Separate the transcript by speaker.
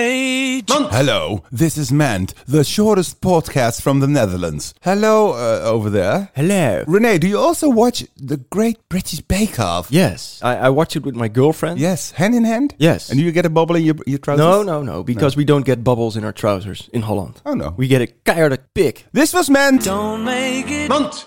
Speaker 1: Hey, J-
Speaker 2: Hello, this is Mand, the shortest podcast from the Netherlands. Hello, uh, over there.
Speaker 3: Hello.
Speaker 2: Renee, do you also watch The Great British Bake Off?
Speaker 3: Yes, I, I watch it with my girlfriend.
Speaker 2: Yes, hand in hand?
Speaker 3: Yes.
Speaker 2: And you get a bubble in your, your trousers?
Speaker 3: No, no, no, because we don't get bubbles in our trousers in Holland.
Speaker 2: Oh, no.
Speaker 3: We get a keiharde pik.
Speaker 2: This was Mand.
Speaker 1: don't make it.